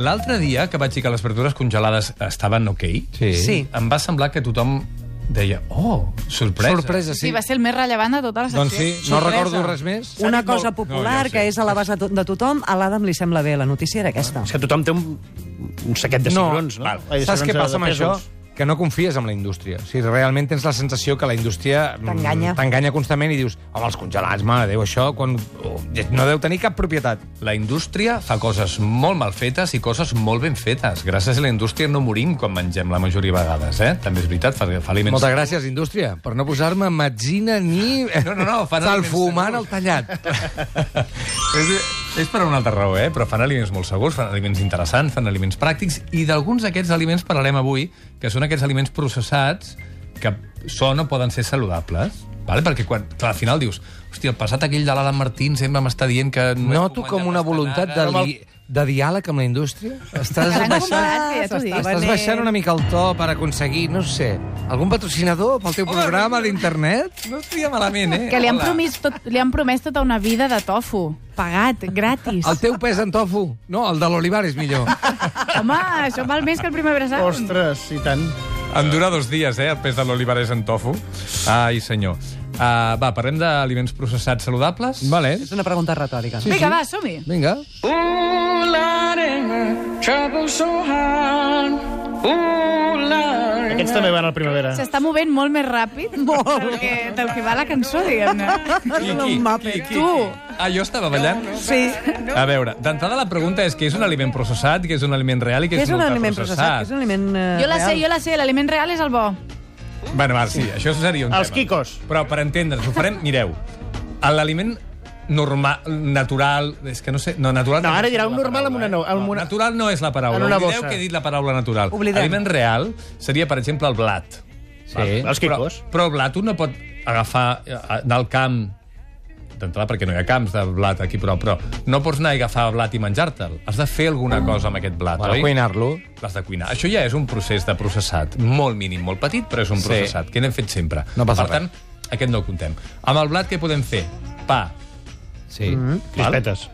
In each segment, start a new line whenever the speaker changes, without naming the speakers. L'altre dia que vaig dir que les verdures congelades estaven ok,
Sí.
Sí.
em va semblar que tothom deia, oh, sorpresa.
Sorpresa,
Sí.
sí.
sí, va ser el més rellevant de tota la secció.
Doncs sí, no recordo res més.
Una
dit molt.
cosa
No,
popular
ja ho sé.
que és a la base de to- de tothom, a l'Adam li sembla bé la notícia era aquesta.
És que tothom té un, un saquet de cigrons, no?
val.
Ai, de
Saps què
cigrons
passa
de
amb això?
pèsols.
Que no confies en la indústria. O sigui, realment tens la sensació que la indústria mm,
T'enganya.
t'enganya constantment i dius home, els congelats, mare de Déu, això quan... oh, no deu tenir cap propietat.
La indústria fa coses molt mal fetes i coses molt ben fetes. Gràcies a la indústria no morim quan mengem la majoria de vegades, eh? També és veritat, fa, fa aliments...
Moltes gràcies, indústria, per no posar-me metzina ni...
No, no, no, fan aliments
Salfumant el
segurs.
tallat.
és, és per una altra raó, eh? però fan aliments molt segurs, fan aliments interessants, fan aliments pràctics, i d'alguns d'aquests aliments parlarem avui, que són aquests aliments processats que so no poden ser saludables. Vale? Perquè quan, clar, al final dius hòstia, el passat aquell de l'Adam Martín sempre m'està dient que... només
Noto
puc menjar
com una voluntat de,
pastanaga.
li... de diàleg amb la indústria. Estàs
Gran
baixant,
comprat, que ja t'ho dic.
estàs
venent.
baixant una mica el to per aconseguir, no sé, algun patrocinador pel teu programa d'internet?
No estaria malament, eh?
Que li han,
Hola.
promès tot, li han promès tota una vida de tofu. Pagat, gratis.
El teu pes en tofu? No, el de l'Olivar és millor.
Home, això val més que el primer bressant.
Ostres, i tant.
Em dura dos dies, eh, el pes de l'olivarès en tofu. Ai, senyor. Uh, va, parlem d'aliments processats saludables.
Vale.
És una pregunta retòrica.
Vinga, va, som-hi.
Vinga.
Ooh, Lordy, trouble so hard. Ooh, Lordy.
Aquests també van a la primavera.
S'està movent molt més ràpid del que, del que va la cançó, diguem-ne.
Qui,
un Muppet.
Tu.
Ah, jo estava ballant?
Sí.
A veure, d'entrada la pregunta és que és un aliment processat, que és un aliment real i que
Què
és,
és un aliment processat? Què és un aliment eh,
Jo la sé,
real?
jo la sé, l'aliment real és el bo.
Bueno, va, sí, això seria un
Els
tema.
quicos.
Però per entendre'ns, ho farem, mireu, l'aliment normal, natural, és que no sé... No, natural
No, ara
és
dirà
la
un normal
paraula,
amb una
eh?
no- amb
No,
una-
Natural no és la paraula.
en una
Oblideu
bossa.
que he dit la paraula natural.
Oblidem.
Aliment real seria, per exemple, el blat.
Sí.
Els quicos.
Però, però el blat un no pot agafar, eh, anar al camp d'entrada perquè no hi ha camps de blat aquí, però, però no pots anar a agafar blat i menjar-te'l. Has de fer alguna cosa amb aquest blat,
Bueno,
oi?
cuinar-lo.
L'has de cuinar. Això ja és un procés de processat, molt mínim, molt petit, però és un
Sí.
processat, que n'hem fet sempre.
No passa
per tant, aquest no el contem. Amb el blat què podem fer? Pa.
Sí. Mm -hmm.
Crispetes.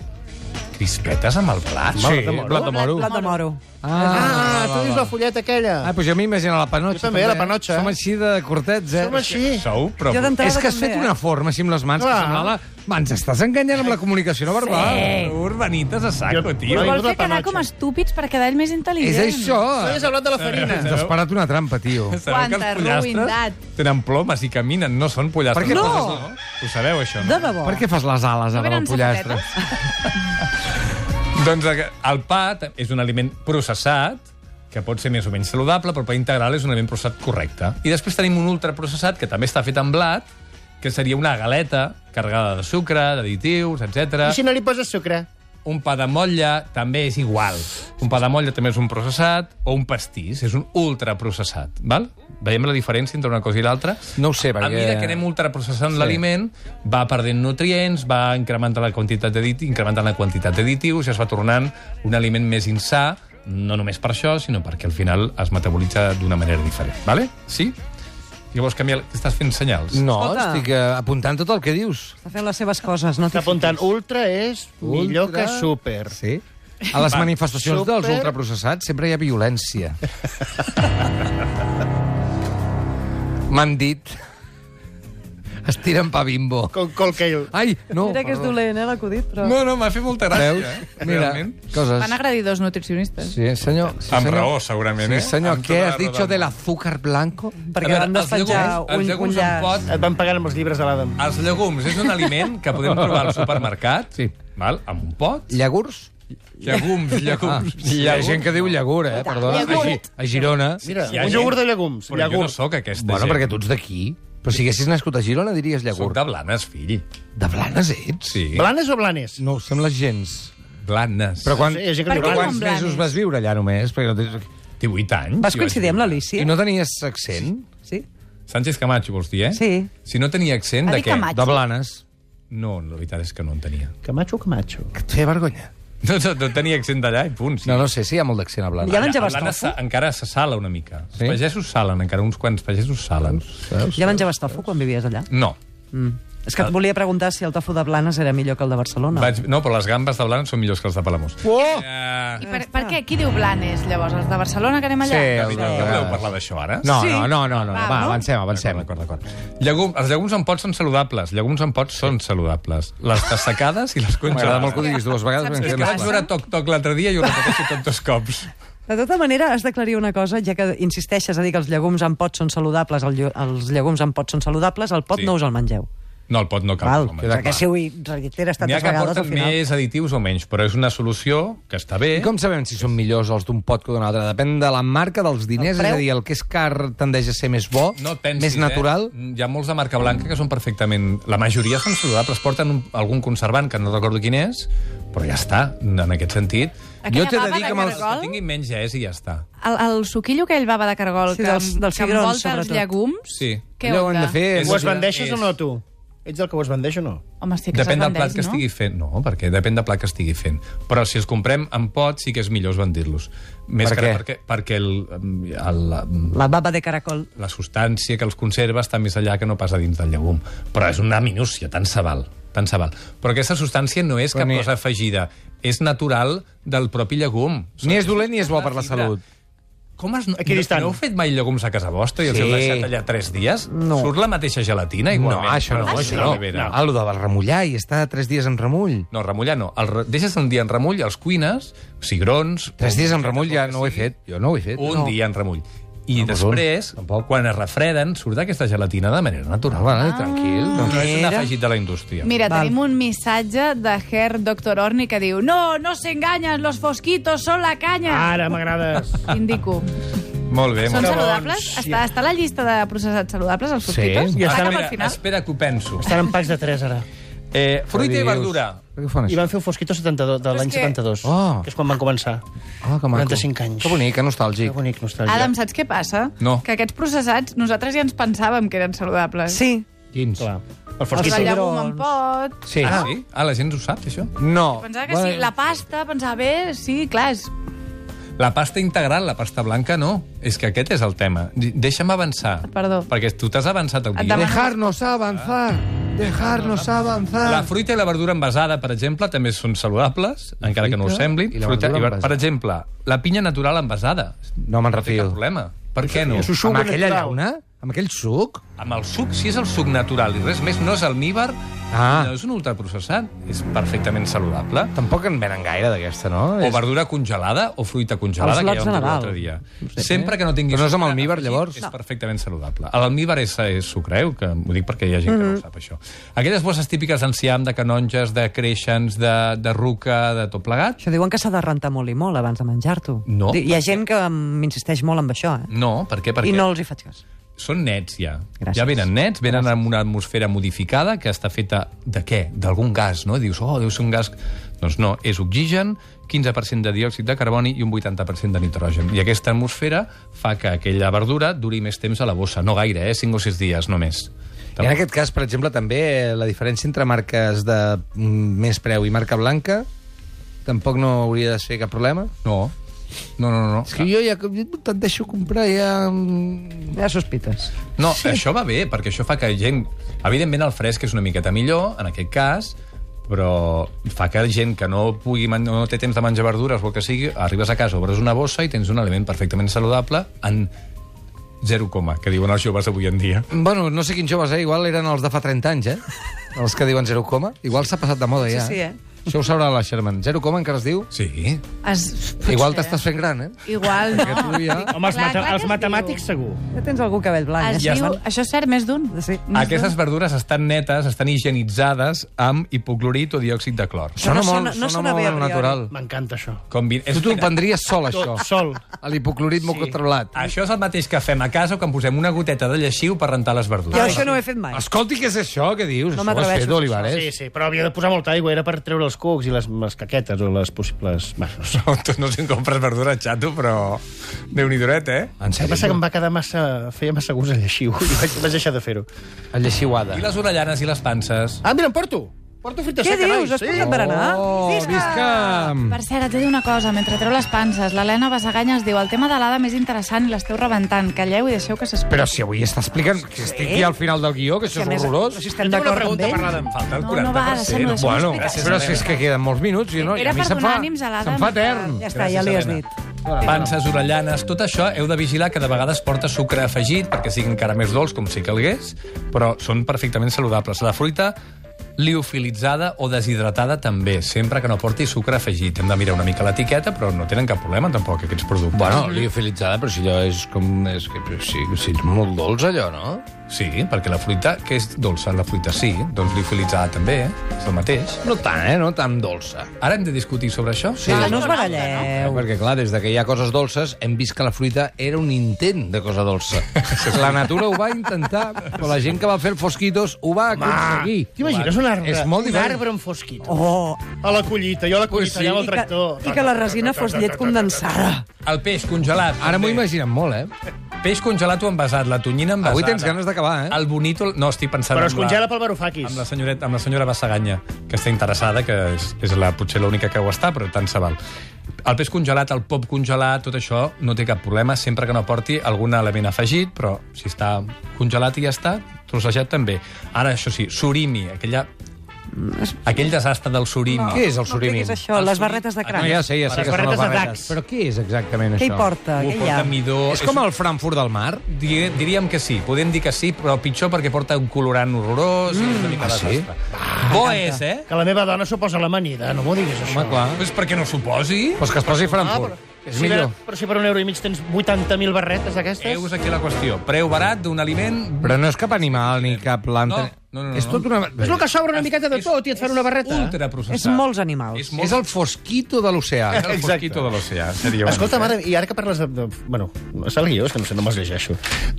Crispetes amb el blat?
Sí,
de moro.
blat de moro.
Plat de moro.
Ah,
Ah, tu dius la fulleta aquella.
ah, doncs jo m'imagino la panotxa.
Jo també, la panotxa.
Som així de curtets, eh?
Som així.
Sou, però...
Jo d'entrada
És que has
també,
fet
eh?
una forma així amb les mans
Clar.
que semblava... Va, ens estàs enganyant amb la comunicació no verbal.
Ah,
Eh.
Urbanites a saco,
Jo-
tio.
Vol
Vingut la
fer quedar
panotxa.
com estúpids per quedar ells més
És
intel·ligents.
això.
Tu has hablat de la farina.
Ens has parat una trampa, tio.
Sabeu que els
Quanta
pollastres
ruïndat.
tenen plomes i caminen, no són pollastres.
Per què
no!
poses
Ho sabeu, això,
De
Doncs
no?
debò.
Per què fas les ales
No
ara del
venen
pollastre?
safaretes?
Doncs eh, el pa ta- és un aliment processat, que pot ser més o menys saludable, però el pa integral és un aliment processat correcte. I després tenim un ultraprocessat, que també està fet amb blat, que seria una galeta carregada de sucre, d'additius,
I
etc.
si no li poses sucre?
Un pa de motlla també és igual. Un pa de motlla també és un processat, o un pastís, és un ultraprocessat. Val? Veiem la diferència entre una cosa i l'altra?
No ho sé,
A
perquè...
mesura que anem ultraprocessant
Sí.
l'aliment, va perdent nutrients, va incrementant la quantitat d'adit- incrementant la quantitat d'additius i es va tornant un aliment més insà, no només per això, sinó perquè al final es metabolitza d'una manera diferent. Vale? Sí? I vols canviar... el- Estàs fent senyals?
No,
Escolta.
estic eh, apuntant tot el que dius.
Està fent les seves coses, no t'hi
Està apuntant ultra és millor
Ultra-
que super.
Sí. A les manifestacions
Super.
dels ultraprocessats sempre hi ha violència. M'han dit... Estiren pa bimbo.
Com Colcale.
Ai, no,
Mira que és
perdó.
dolent, eh, l'acudit, però...
No, no, m'ha fet molta gràcia.
Veus?
eh?
Mira,
Realment.
coses.
Van agradir dos nutricionistes.
Sí, eh, senyor. Sí,
Amb
senyor.
raó, segurament, eh?
Sí, senyor,
Amb
què
tota
has
la
dicho
raó del
del azúcar blanco?
A
Perquè
veure,
van despenjar
els
un,
llegums, els
un
llegums
llaç.
en pot,
Et van pagant amb els llibres de l'Adam.
els llegums és un aliment que podem trobar al supermercat,
Sí.
val? amb un pot.
Llegurs?
Llegums, llegums.
Ah, hi ha gent que diu llegur, eh? Perdona. A, Gi- a Girona.
Mira,
Hi ha
un
gent-
iogurt de llegums.
Però jo no
Llegums.
sóc aquesta
Bueno,
gent.
perquè tu ets d'aquí. Però si haguessis nascut a Girona diries
Soc
llegur.
de Blanes, fill.
De Blanes ets?
Sí.
Blanes o blanes?
No, ho sembla gens.
Blanes.
Però quan,
Sí, hi ha gent
Per
que diu
què
blanes.
quants
Blanes.
mesos vas viure allà només? Perquè no tens...
18 anys.
Vas
jo
coincidir amb
vaig
l'Alicia?
I no tenies accent?
Sí?
dir. Sánchez Camacho, vols dir, eh?
Sí.
Si no tenia accent,
Ha
de
dit
què?
Camacho.
De Blanes.
No, la veritat és que no en tenia.
Camacho o Camacho?
Que et feia vergonya.
No, no, no tenia accent d'allà i punt. Sí.
No, no sé, sí, hi ha molt d'accent a Blanes.
Ja menjaves
Blanes
tofu?
sa- encara se sala una mica.
Sí?
Els pagesos salen, encara uns quants pagesos salen.
Ja menjaves tofu quan vivies allà?
No.
És que et volia preguntar si el tofu de Blanes era millor que el de Barcelona.
Vaig... No, però les gambes de Blanes són millors que els de Palamós.
Oh!
Eh,
I per, per què? Qui diu Blanes, llavors? Els de Barcelona que anem allà?
Sí,
no
el de-
voleu parlar d'això ara?
No, no, no, no, no.
Va,
Va,
no?
avancem, avancem.
D'acord, d'acord. Llegum, els llegums en pots són saludables. Llegums en pots són saludables. Les dessecades i les
M'agrada molt
congelades.
que ho diguis dues vegades.
Saps
perquè
És
què
que
em
vaig
passa?
sembla-
veure Toc Toc l'altre dia i ho repeteixo tot dos cops.
De tota manera, has d'aclarir una cosa, ja que insisteixes a dir que els llegums en pot són saludables, el llo- els llegums en pot són saludables, el pot
Sí.
sí. no us el mengeu.
No, el pot no cal.
Val,
home.
perquè si ho hi reiteres
N'hi ha
tantes
que
vegades, al
porten
final...
més additius o menys, però és una solució que està bé.
I com sabem si són millors els d'un pot que d'un altre? Depèn de la marca dels diners, és
El preu?
a dir, el que és car tendeix a ser més bo,
No et pensis,
més natural.
Eh? Hi ha molts de marca blanca que són perfectament... La majoria són saludables, porten un, algun conservant, que no recordo quin és, però ja està, en aquest sentit.
Aquella
Jo t'he de
baba
dir que amb els-
Que
caragol,
tinguin menys ja és i ja està.
El, el suquillo que ell bava de cargol,
Sí,
que,
dels-
em-
dels
que
cigrons,
envolta els
sobretot.
llegums,
Sí.
què
Allò ho
heu
hem de fer... és-
Ho esbandeixes
És-
o no, tu? Ets el que ho esbandeix o no?
Home, estic
Depèn del
del
plat que
no?
estigui fent. No, perquè depèn del plat que estigui fent. Però si els comprem en pot, sí que és millor esbandir-los. Més
Per
que res
què?
perquè, perquè el, el, la,
La baba de caracol.
la substància que els conserva està més allà que no passa dins del llegum. Però és una minúcia, tant se val. Tant se val. Però aquesta substància no és
Però
cap
ni-
cosa afegida. És natural del propi llegum.
Ni és dolent ni és bo per la
Fibra.
salut.
Com has, no,
Equidistant.
no heu fet mai llegums a casa vostra i els
Sí.
heu deixat allà tres dies?
No.
Surt la mateixa gelatina
No,
igualment.
això no,
Però
això no.
Rivera.
no. Ah, lo de remullar i estar tres dies en remull.
No, remullar no. El, re- deixes un dia en remull, els cuines, cigrons...
Tres
un-
dies en remull ja no ho he fet. Jo no ho he fet.
Un
no.
dia en remull. I
No, doncs un.
després,
Tampoc.
quan es refreden, surt aquesta gelatina de manera
Ah,
natural.
vale, tranquil.
No, no
Doncs,
és un
Mira.
afegit de la indústria.
Mira,
Val.
tenim un missatge de Herr Dr. Orni que diu No, no s'enganyen, los fosquitos són la canya.
Ara m'agrades.
Indico.
Ah. Molt bé,
Són
molt bé.
saludables?
sí.
Està, està a la llista de processats saludables, els fosquitos?
Sí.
Ja
Està
està,
cap
Espera,
al final?
espera que ho penso.
Estan en packs de 3, ara.
Eh, fruita i
Adiós.
verdura.
Per què ho fan,
I
això?
van fer un Fosquito 72, de l'any
que-
72,
Oh.
que és quan van començar.
Ah, que maco.
45 anys.
Que bonic, que
Que
nostàlgic.
bonic, nostàlgia.
Adam, saps què passa?
No.
Que aquests processats, nosaltres ja ens pensàvem que eren saludables.
Sí,
Quins?
Clar. El
Els
Fosquito.
de
cigrons.
llegum en pot...
Sí.
Ah, sí? Ah, la gent ho sap, això?
No.
Pensava que sí, la pasta, pensava bé, sí, clar, és...
La pasta integral, la pasta blanca, no. És que aquest és el tema. Di- Deixa'm avançar.
Perdó.
Perquè tu t'has avançat el
Et
guió.
demano-
Dejarnos avanzar. Dejarnos avanzar.
Ah. La fruita i la verdura envasada, per exemple, també són saludables,
La
encara que no ho
fruita
semblin.
i la
Fruita
verdura
ver-
envasada.
per exemple, la pinya natural envasada.
No me'n
Té cap
refio.
problema. Per què no?
Això és
Amb
Suc
aquella
natural.
llauna? Amb aquell suc?
Amb el suc, si és el suc natural i res més, no és almíbar,
Ah.
no és un ultraprocessat, és perfectament saludable.
Tampoc en venen gaire d'aquesta, no?
O verdura congelada o fruita congelada,
Els
que ja
lots
vam
de
parlar
Nadal.
l'altre dia.
No sé.
Sempre que no tinguis
Però no és amb
sucre,
almíbar,
afegit,
llavors?
És perfectament saludable. A L'almíbar és, és sucreu, que ho dic perquè hi ha gent que no
Mm-hmm.
ho sap, això. Aquelles bosses típiques d'enciam, de canonges, de creixens, de, de ruca, de tot plegat,
això diuen que s'ha de rentar molt i molt abans de menjar-t'ho.
No,
Di- Hi ha gent que m'insisteix molt en això, eh?
No, per què? Perquè
I no els hi faig cas.
són nets ja.
Gràcies.
Ja venen nets, venen amb una atmosfera modificada que està feta de què? D'algun gas, no? Dius, oh, deu ser un gas... Doncs no, és oxigen, 15% de diòxid de carboni i un 80% de nitrogen. I aquesta atmosfera fa que aquella verdura duri més temps a la bossa. No gaire, eh? 5 o 6 dies, només.
I en aquest cas, per exemple, també eh, la diferència entre marques de mm, més preu i marca blanca tampoc no hauria de ser cap problema.
No, no, no, no.
És que jo ja jo te'n deixo comprar ja... mm,
Ja sospites.
No, sí. això va bé, perquè això fa que gent... Evidentment, el fresc és una miqueta millor, en aquest cas, però fa que gent que no pugui man- no té temps de menjar verdures o el que sigui, arribes a casa, obres una bossa i tens un aliment perfectament saludable en 0, que diuen els joves avui en dia.
Bueno, no sé quins joves, eh? Igual eren els de fa 30 anys, eh? Els que diuen 0, coma. Igual s'ha passat de moda ja.
Sí, sí, eh?
Això ho sabrà la Sherman. 0, coma encara es diu?
Sí.
Es...
Igual
potser.
t'estàs fent gran, eh?
Igual,
Perquè
no.
tu ja-
Dic,
Home, els,
clar, clar
mata
que
els
es
matemàtics, segur.
Ja tens algú cabell blanc.
Es
ja
diu,
saps.
això és cert, més d'un.
Sí. Ah,
Aquestes verdures estan netes, estan higienitzades amb hipoclorit o diòxid de clor.
Sona
no sona-
molt,
no
sona
sona bé
molt
a priori.
natural.
M'encanta això.
Combi...
Tu t'ho prendries sol,
Tot,
això.
sol.
L'hipoclorit molt controlat.
Això és el mateix que fem a casa o que em posem una goteta de lleixiu per rentar les verdures.
Jo això no ho he fet mai.
Escolti, què és això que dius?
No
Això ho has
m'atreveixo,
fet, Olivares?
Sí, sí, però havia de posar molta aigua, era per treure els cucs i les, les caquetes o les possibles... Bueno, no sé.
Tu no si en compres verdures, xato, però... Déu-n'hi-doret, eh?
En
El que passa que
sèrio?
em va quedar massa... Feia massa gust a lleixiu i vaig, vaig deixar de fer-ho.
El lleixiuada.
I les Ah. orellanes i les panses?
Ah, mira, em porto! Porto frites,
Què
eh, carai?
dius? Has portat berenar?
Oh,
Visca!
visca!
Per cert, et he de dir una cosa. Mentre treu les panses, l'Helena Basaganya es diu el tema de l'Ada més interessant i l'esteu rebentant. Calleu i deixeu que s'expliqui.
Però si avui està explicant que estic
Sí.
aquí al final del guió, que
Si
això
a
és
més-
horrorós.
Però si
Jo
estem
tinc una
d'acord amb
pregunta
ell.
per l'Adam. Falta el
No,
40%.
no va, deixem-ho, deixem-ho
Bueno,
explicar.
però si és que queden molts minuts. Jo no,
Era
i a mi
per
se'm
donar
fa,
ànims a l'Adam.
se'm fa etern.
Ja està, ja li has
Elena.
dit.
Ah,
Panses, orellanes, tot això heu de vigilar que de vegades porta sucre afegit perquè sigui encara més dolç, com si calgués, però són perfectament saludables. La fruita liofilitzada o deshidratada també, sempre que no porti sucre afegit. Hem de mirar una mica l'etiqueta, però no tenen cap problema tampoc aquests productes.
Bueno, liofilitzada, però si allò és com... És que, però si, si és molt dolç, allò, no?
Sí, perquè la fruita, que és dolça, la fruita sí, doncs liofilitzada també, eh? és el mateix.
No tant, eh? No tan dolça.
Ara hem de discutir sobre això?
Sí.
Ah, no us
Eh,
baralleu.
perquè, clar, des de que hi ha coses dolces, hem vist que la fruita era un intent de cosa dolça. La natura ho va intentar, però la gent que va fer el Fosquitos ho va
Ah,
aconseguir.
T'imagines un arbre?
És molt
un
diferent.
arbre enfosquit.
Oh,
A la collita, jo a la collita,
Sí.
allà amb
i
el
que,
tractor.
i que la resina fos llet condensada.
El peix congelat.
Ara m'ho
també.
imaginen molt, eh?
Peix congelat o envasat, la tonyina envasada.
Avui tens ganes d'acabar, eh?
El bonito... No, estic pensant...
Però
en
es
la-
congela pel Varoufakis.
Amb la, senyoreta, amb la senyora Bassaganya, que està interessada, que és, és la, potser l'única que ho està, però tant se val. El peix congelat, el pop congelat, tot això no té cap problema, sempre que no porti algun element afegit, però si està congelat i ja està, trossejat també. Ara, això sí, surimi, aquella... Aquell desastre del surimi.
Mm, Què és el
No
surimi?
diguis això, les
Ah,
barretes de
No,
cranc.
ja sé, ja sé
Les
que són les
barretes de
barretes.
tacs.
Però què és exactament
Què
això?
hi porta?
Ho
Què hi ha?
porta midó...
És com el Frankfurt del mar?
Dir- Diríem que sí, podem dir que sí, però pitjor perquè porta un colorant horrorós mm. i és una mica
Ah, sí?
desastre. Bo és, eh?
Que la meva dona s'ho posa a l'amanida, no m'ho diguis, això.
Home, clar.
És perquè no s'ho posi.
Doncs que es posi Frankfurt. És
Ah, si
millor.
Per, però si per un euro i mig tens 80.000 barretes d'aquestes...
Heus aquí la qüestió. Preu barat d'un aliment...
Però no és cap animal ni cap planta.
No, no, no,
És
no.
tot una...
És el que sobra una miqueta de
és-
tot i et fan una barreta.
Ultra processat.
És molts animals.
És,
És
molt...
el fosquito de l'oceà.
és el fosquito de l'oceà. Seria una
Escolta,
mica.
mare, i ara que parles de... de bueno, està el guió, és que no sé, no me'ls llegeixo.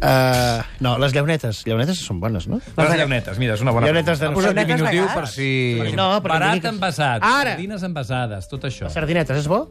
Uh, no, les llaunetes. Llaunetes són bones, no?
Les llaunetes, mira, és una bona...
Llaunetes de...
Ha posat
Llaunetes
diminutiu per
vegades.
si...
No, però
Barat
digues-
envasat,
Ara.
sardines envasades, tot això.
Sardinetes, és bo?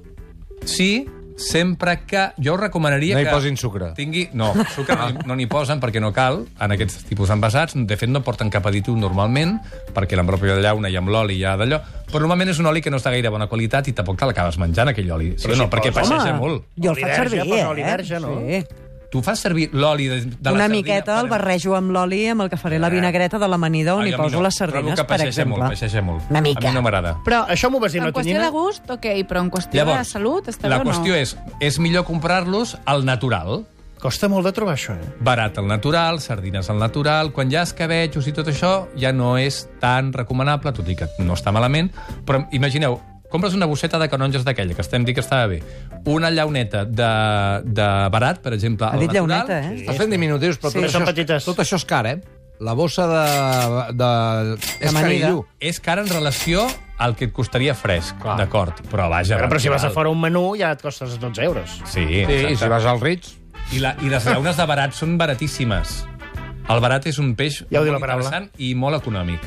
Sí, sempre que... Jo us recomanaria
No hi
que...
posin sucre.
Tingui... No, sucre no hi- no n'hi posen perquè no cal, en aquests tipus d'envasats. De fet, no porten cap additiu normalment, perquè amb la pròpia llauna i amb l'oli ja d'allò... Però normalment és un oli que no està gaire bona qualitat i tampoc te l'acabes menjant, aquell oli. Sí o no? perquè passeja molt.
jo el
Oli
faig
verge,
servir,
posa oli
eh?
verge, no?
Sí.
Tu fas servir l'oli de, de la
Una
sardina
miqueta
per-
el barrejo amb l'oli amb el que faré la vinagreta de l'amanida on
Ai,
hi
a mi
poso
no.
les
Trobo
sardines,
que
per
passeja
exemple.
Molt, passeja molt.
Una mica.
A mi no m'agrada.
Però
Això m'ho vas dir,
en
no,
qüestió
Tonyina?
de gust, ok, però en qüestió de salut, està
la
bé o
qüestió
no?
és, és millor comprar-los al natural,
Costa molt de trobar això, eh?
barat al natural, sardines al natural, quan hi ha escabetxos i tot això ja no és tan recomanable, tot i que no està malament, però imagineu, compres una bosseta de canonges d'aquella, que estem dient que estava bé, una llauneta de, de barat, per exemple,
Ha
al
dit
natural...
llauneta, eh?
Estàs fent diminutius, però
Sí.
tot,
Són
això,
petites.
tot això és car, eh? La bossa de... de... És
Amanida.
carillu.
És cara en relació al que et costaria fresc,
Clar.
d'acord, però vaja...
Però, però si vas a
natural.
fora un menú ja et costa 12 euros.
Sí,
Sí,
exacte.
i si vas als Ritz...
I, la, I les llaunes de barat són baratíssimes. El barat és un peix
Ja ho diu la
molt
paraula.
interessant i molt econòmic.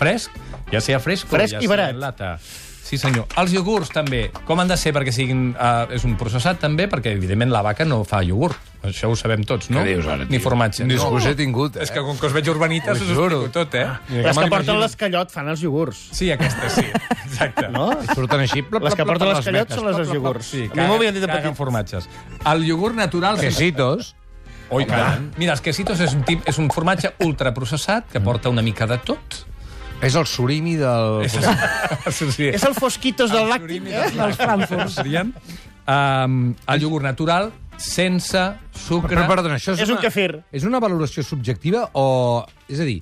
Fresc, ja sea fresc, o
Fresc
ja
i
sea
barat.
en Lata. Sí, senyor. Els iogurts, també. Com han de ser perquè siguin... Uh, és un processat, també, perquè, evidentment, la vaca no fa iogurt. Això ho sabem tots, no?
Què dius ara, tio?
Ni formatge.
Un disgust he tingut, eh?
És que com que us veig urbanites,
Ho
us ho
juro. Ah.
explico tot, eh?
Les que porten l'escallot fan els iogurts.
Sí, aquesta sí. Exacte.
No?
Surten així... Plop,
Les que porten
plop,
l'escallot
meques.
són les dels
Plop, plop, plop.
iogurts.
Sí,
A mi m'ho havien dit de
caguen
petit.
formatges. El iogurt natural...
Quesitos.
Oi, caram. Mira, els quesitos és un, tip, és un formatge ultraprocessat que porta una mica de tot.
És el surimi del...
sí, sí.
És el fosquitos del làctic, eh?
Els Frankfurt.
Serien, um, el iogurt natural sense sucre...
Però, perdona, això és,
És un
una-
kefir.
És una valoració subjectiva o... És a dir,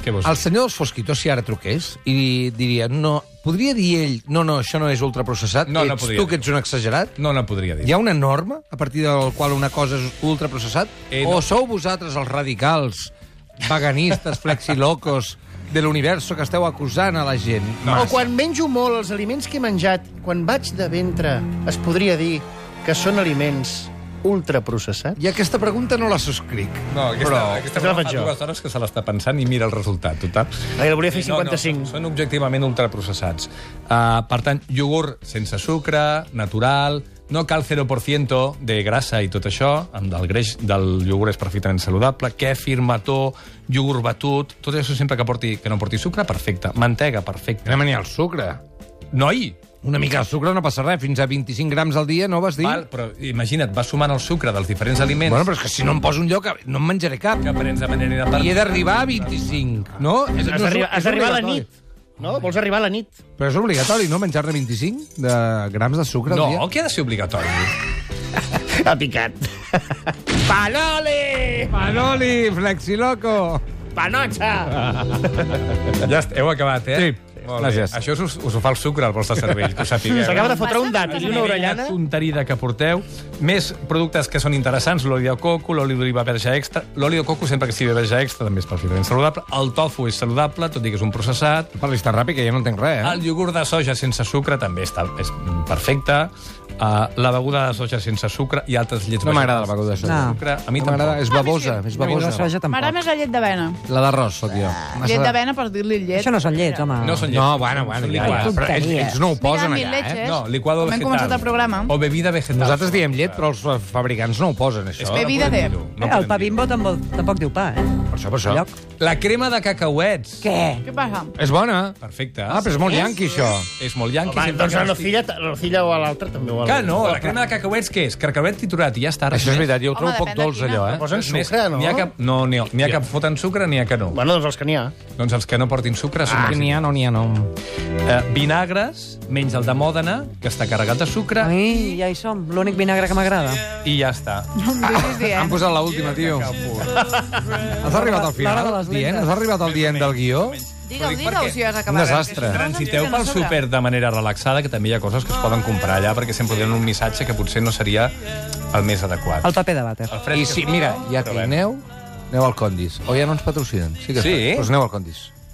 Què vols
el
dir?
senyor dels Fosquitos, si ara truqués, i li diria, no, podria dir ell, no, no, això no és ultraprocessat,
No, no
ets
podria
tu que
dir-ho.
ets un exagerat?
No, no podria dir.
Hi ha una norma a partir de la qual una cosa és ultraprocessat?
Eh,
Eh,
no.
no. O sou vosaltres els radicals, veganistes, flexilocos de l'univers que esteu acusant a la gent?
No,
O quan menjo molt els aliments que he menjat, quan vaig de ventre, es podria dir que són aliments ultraprocessats?
I aquesta pregunta no la subscric.
No, aquesta,
però...
aquesta
aquesta la
broma
faig
fa
jo.
dues hores que se l'està pensant i mira el resultat, total.
Ai, la volia fer
No, no,
55.
són- són Ah, objectivament ultraprocessats. Uh, per tant, iogurt sense sucre, natural, no cal 0% de grassa i tot això, amb el greix del iogurt és perfectament saludable, kefir, mató, iogurt batut, tot això sempre que, porti, que no porti sucre, perfecte. Mantega, perfecte.
Anem a al sucre.
Noi,
Una mica de sucre no passa res, fins a 25 grams al dia, no vas dir?
val, però imagina't, vas sumant el sucre dels diferents aliments
Bueno, però és que si no em poso un lloc, no em menjaré cap.
que prens de manera
I he
per...
d'arribar a 25, no? És,
Has
no,
d'arribar
és
has d'arribar a la
obligatori.
nit. No? Vols arribar a la nit.
Però és obligatori, no?, menjar-ne 25 de grams de sucre al dia.
No, que ha de ser obligatori.
Ha picat. Panoli!
Manoli, flexiloco!
Panotxa!
Ja est- heu acabat, eh?
Sí.
Molt
Gràcies.
Bé. Això us, us ho fa el sucre al vostre cervell, que ho sapigueu. eh?
S'acaba de fotre un
Bastant
dat i una
La
orellana.
tonterida que porteu. Més productes que són interessants, l'oli de coco, l'oli d'oliva verge extra. L'oli de coco, sempre que sigui verge extra, també és perfectament saludable. El tofu és saludable, tot i que és un processat.
Parlis tan ràpid que ja no entenc res, eh?
El iogurt de soja sense sucre també està, és perfecte. Uh, la beguda de soja sense sucre i altres llets
No m'agrada la
vegetals
beguda de soja.
sense Sucre. A mi
No
tampoc.
m'agrada, és babosa, és
La
babosa.
soja
M'agrada
tampoc.
més la llet d'avena.
La d'arròs, tot jo.
Ah. Llet d'avena per dir-li llet.
Això no són llets, home. Eh,
No són llets.
No, bueno, bueno,
Són
ja, ja,
liquats.
però ells, ells no ho posen
Mira, mil
allà, eh?
leches.
No, licuado
Com hem
vegetal.
començat el programa.
O bebida vegetal.
Nosaltres diem llet, però els fabricants no ho posen, això.
no
Bebida
podem
de-
dir-ho, no
Eh, el
podem dir-ho.
pa bimbo tampoc, tampoc diu pa, eh?
Per això, per
Lloc.
això.
La crema de cacauets.
Què?
Què passa?
És bona.
Perfecte.
Ah, però és molt yanqui, això.
És molt llanqui.
Home,
sempre
doncs a
que
la
estic-
filla, a la filla o a l'altra també ho ha.
Que no, la crema de cacauets què és? Cacauet triturat i ja està. res
Això
més.
és veritat, jo ho
Home,
trobo poc
depèn de
dolç,
quina.
allò, eh?
Posen
Res més.
sucre, no?
N'hi ha cap, no, n'hi ha, n'hi ha cap foten sucre, n'hi ha que no.
Bueno, doncs els que n'hi ha.
Doncs els que no portin sucre són...
Ah,
els-
n'hi ha, no n'hi ha, no.
Eh, vinagres, menys el de Mòdena, que està carregat de sucre,
Ai, ja hi som. L'únic vinagre que m'agrada.
i ja està.
No em diguis
Han
dient.
posat l'última, tio. Has arribat al
L'hora de
final,
les
dient?
lentes.
Has arribat al dient del guió?
Digue-ho,
Ho dic
digue-ho
perquè
si has acabat.
un desastre.
que si no,
Transiteu
no
pel
sobra.
súper de manera relaxada, que també hi ha coses que es poden comprar allà, perquè sempre tenen un missatge que potser no seria el més adequat.
El paper de vàter.
El fred
I
que
si,
fa.
mira, ja que
Però bé.
aneu, aneu al Condis. O ja no ens patrocinen. Sí que
Sí?
Doncs aneu al Condis.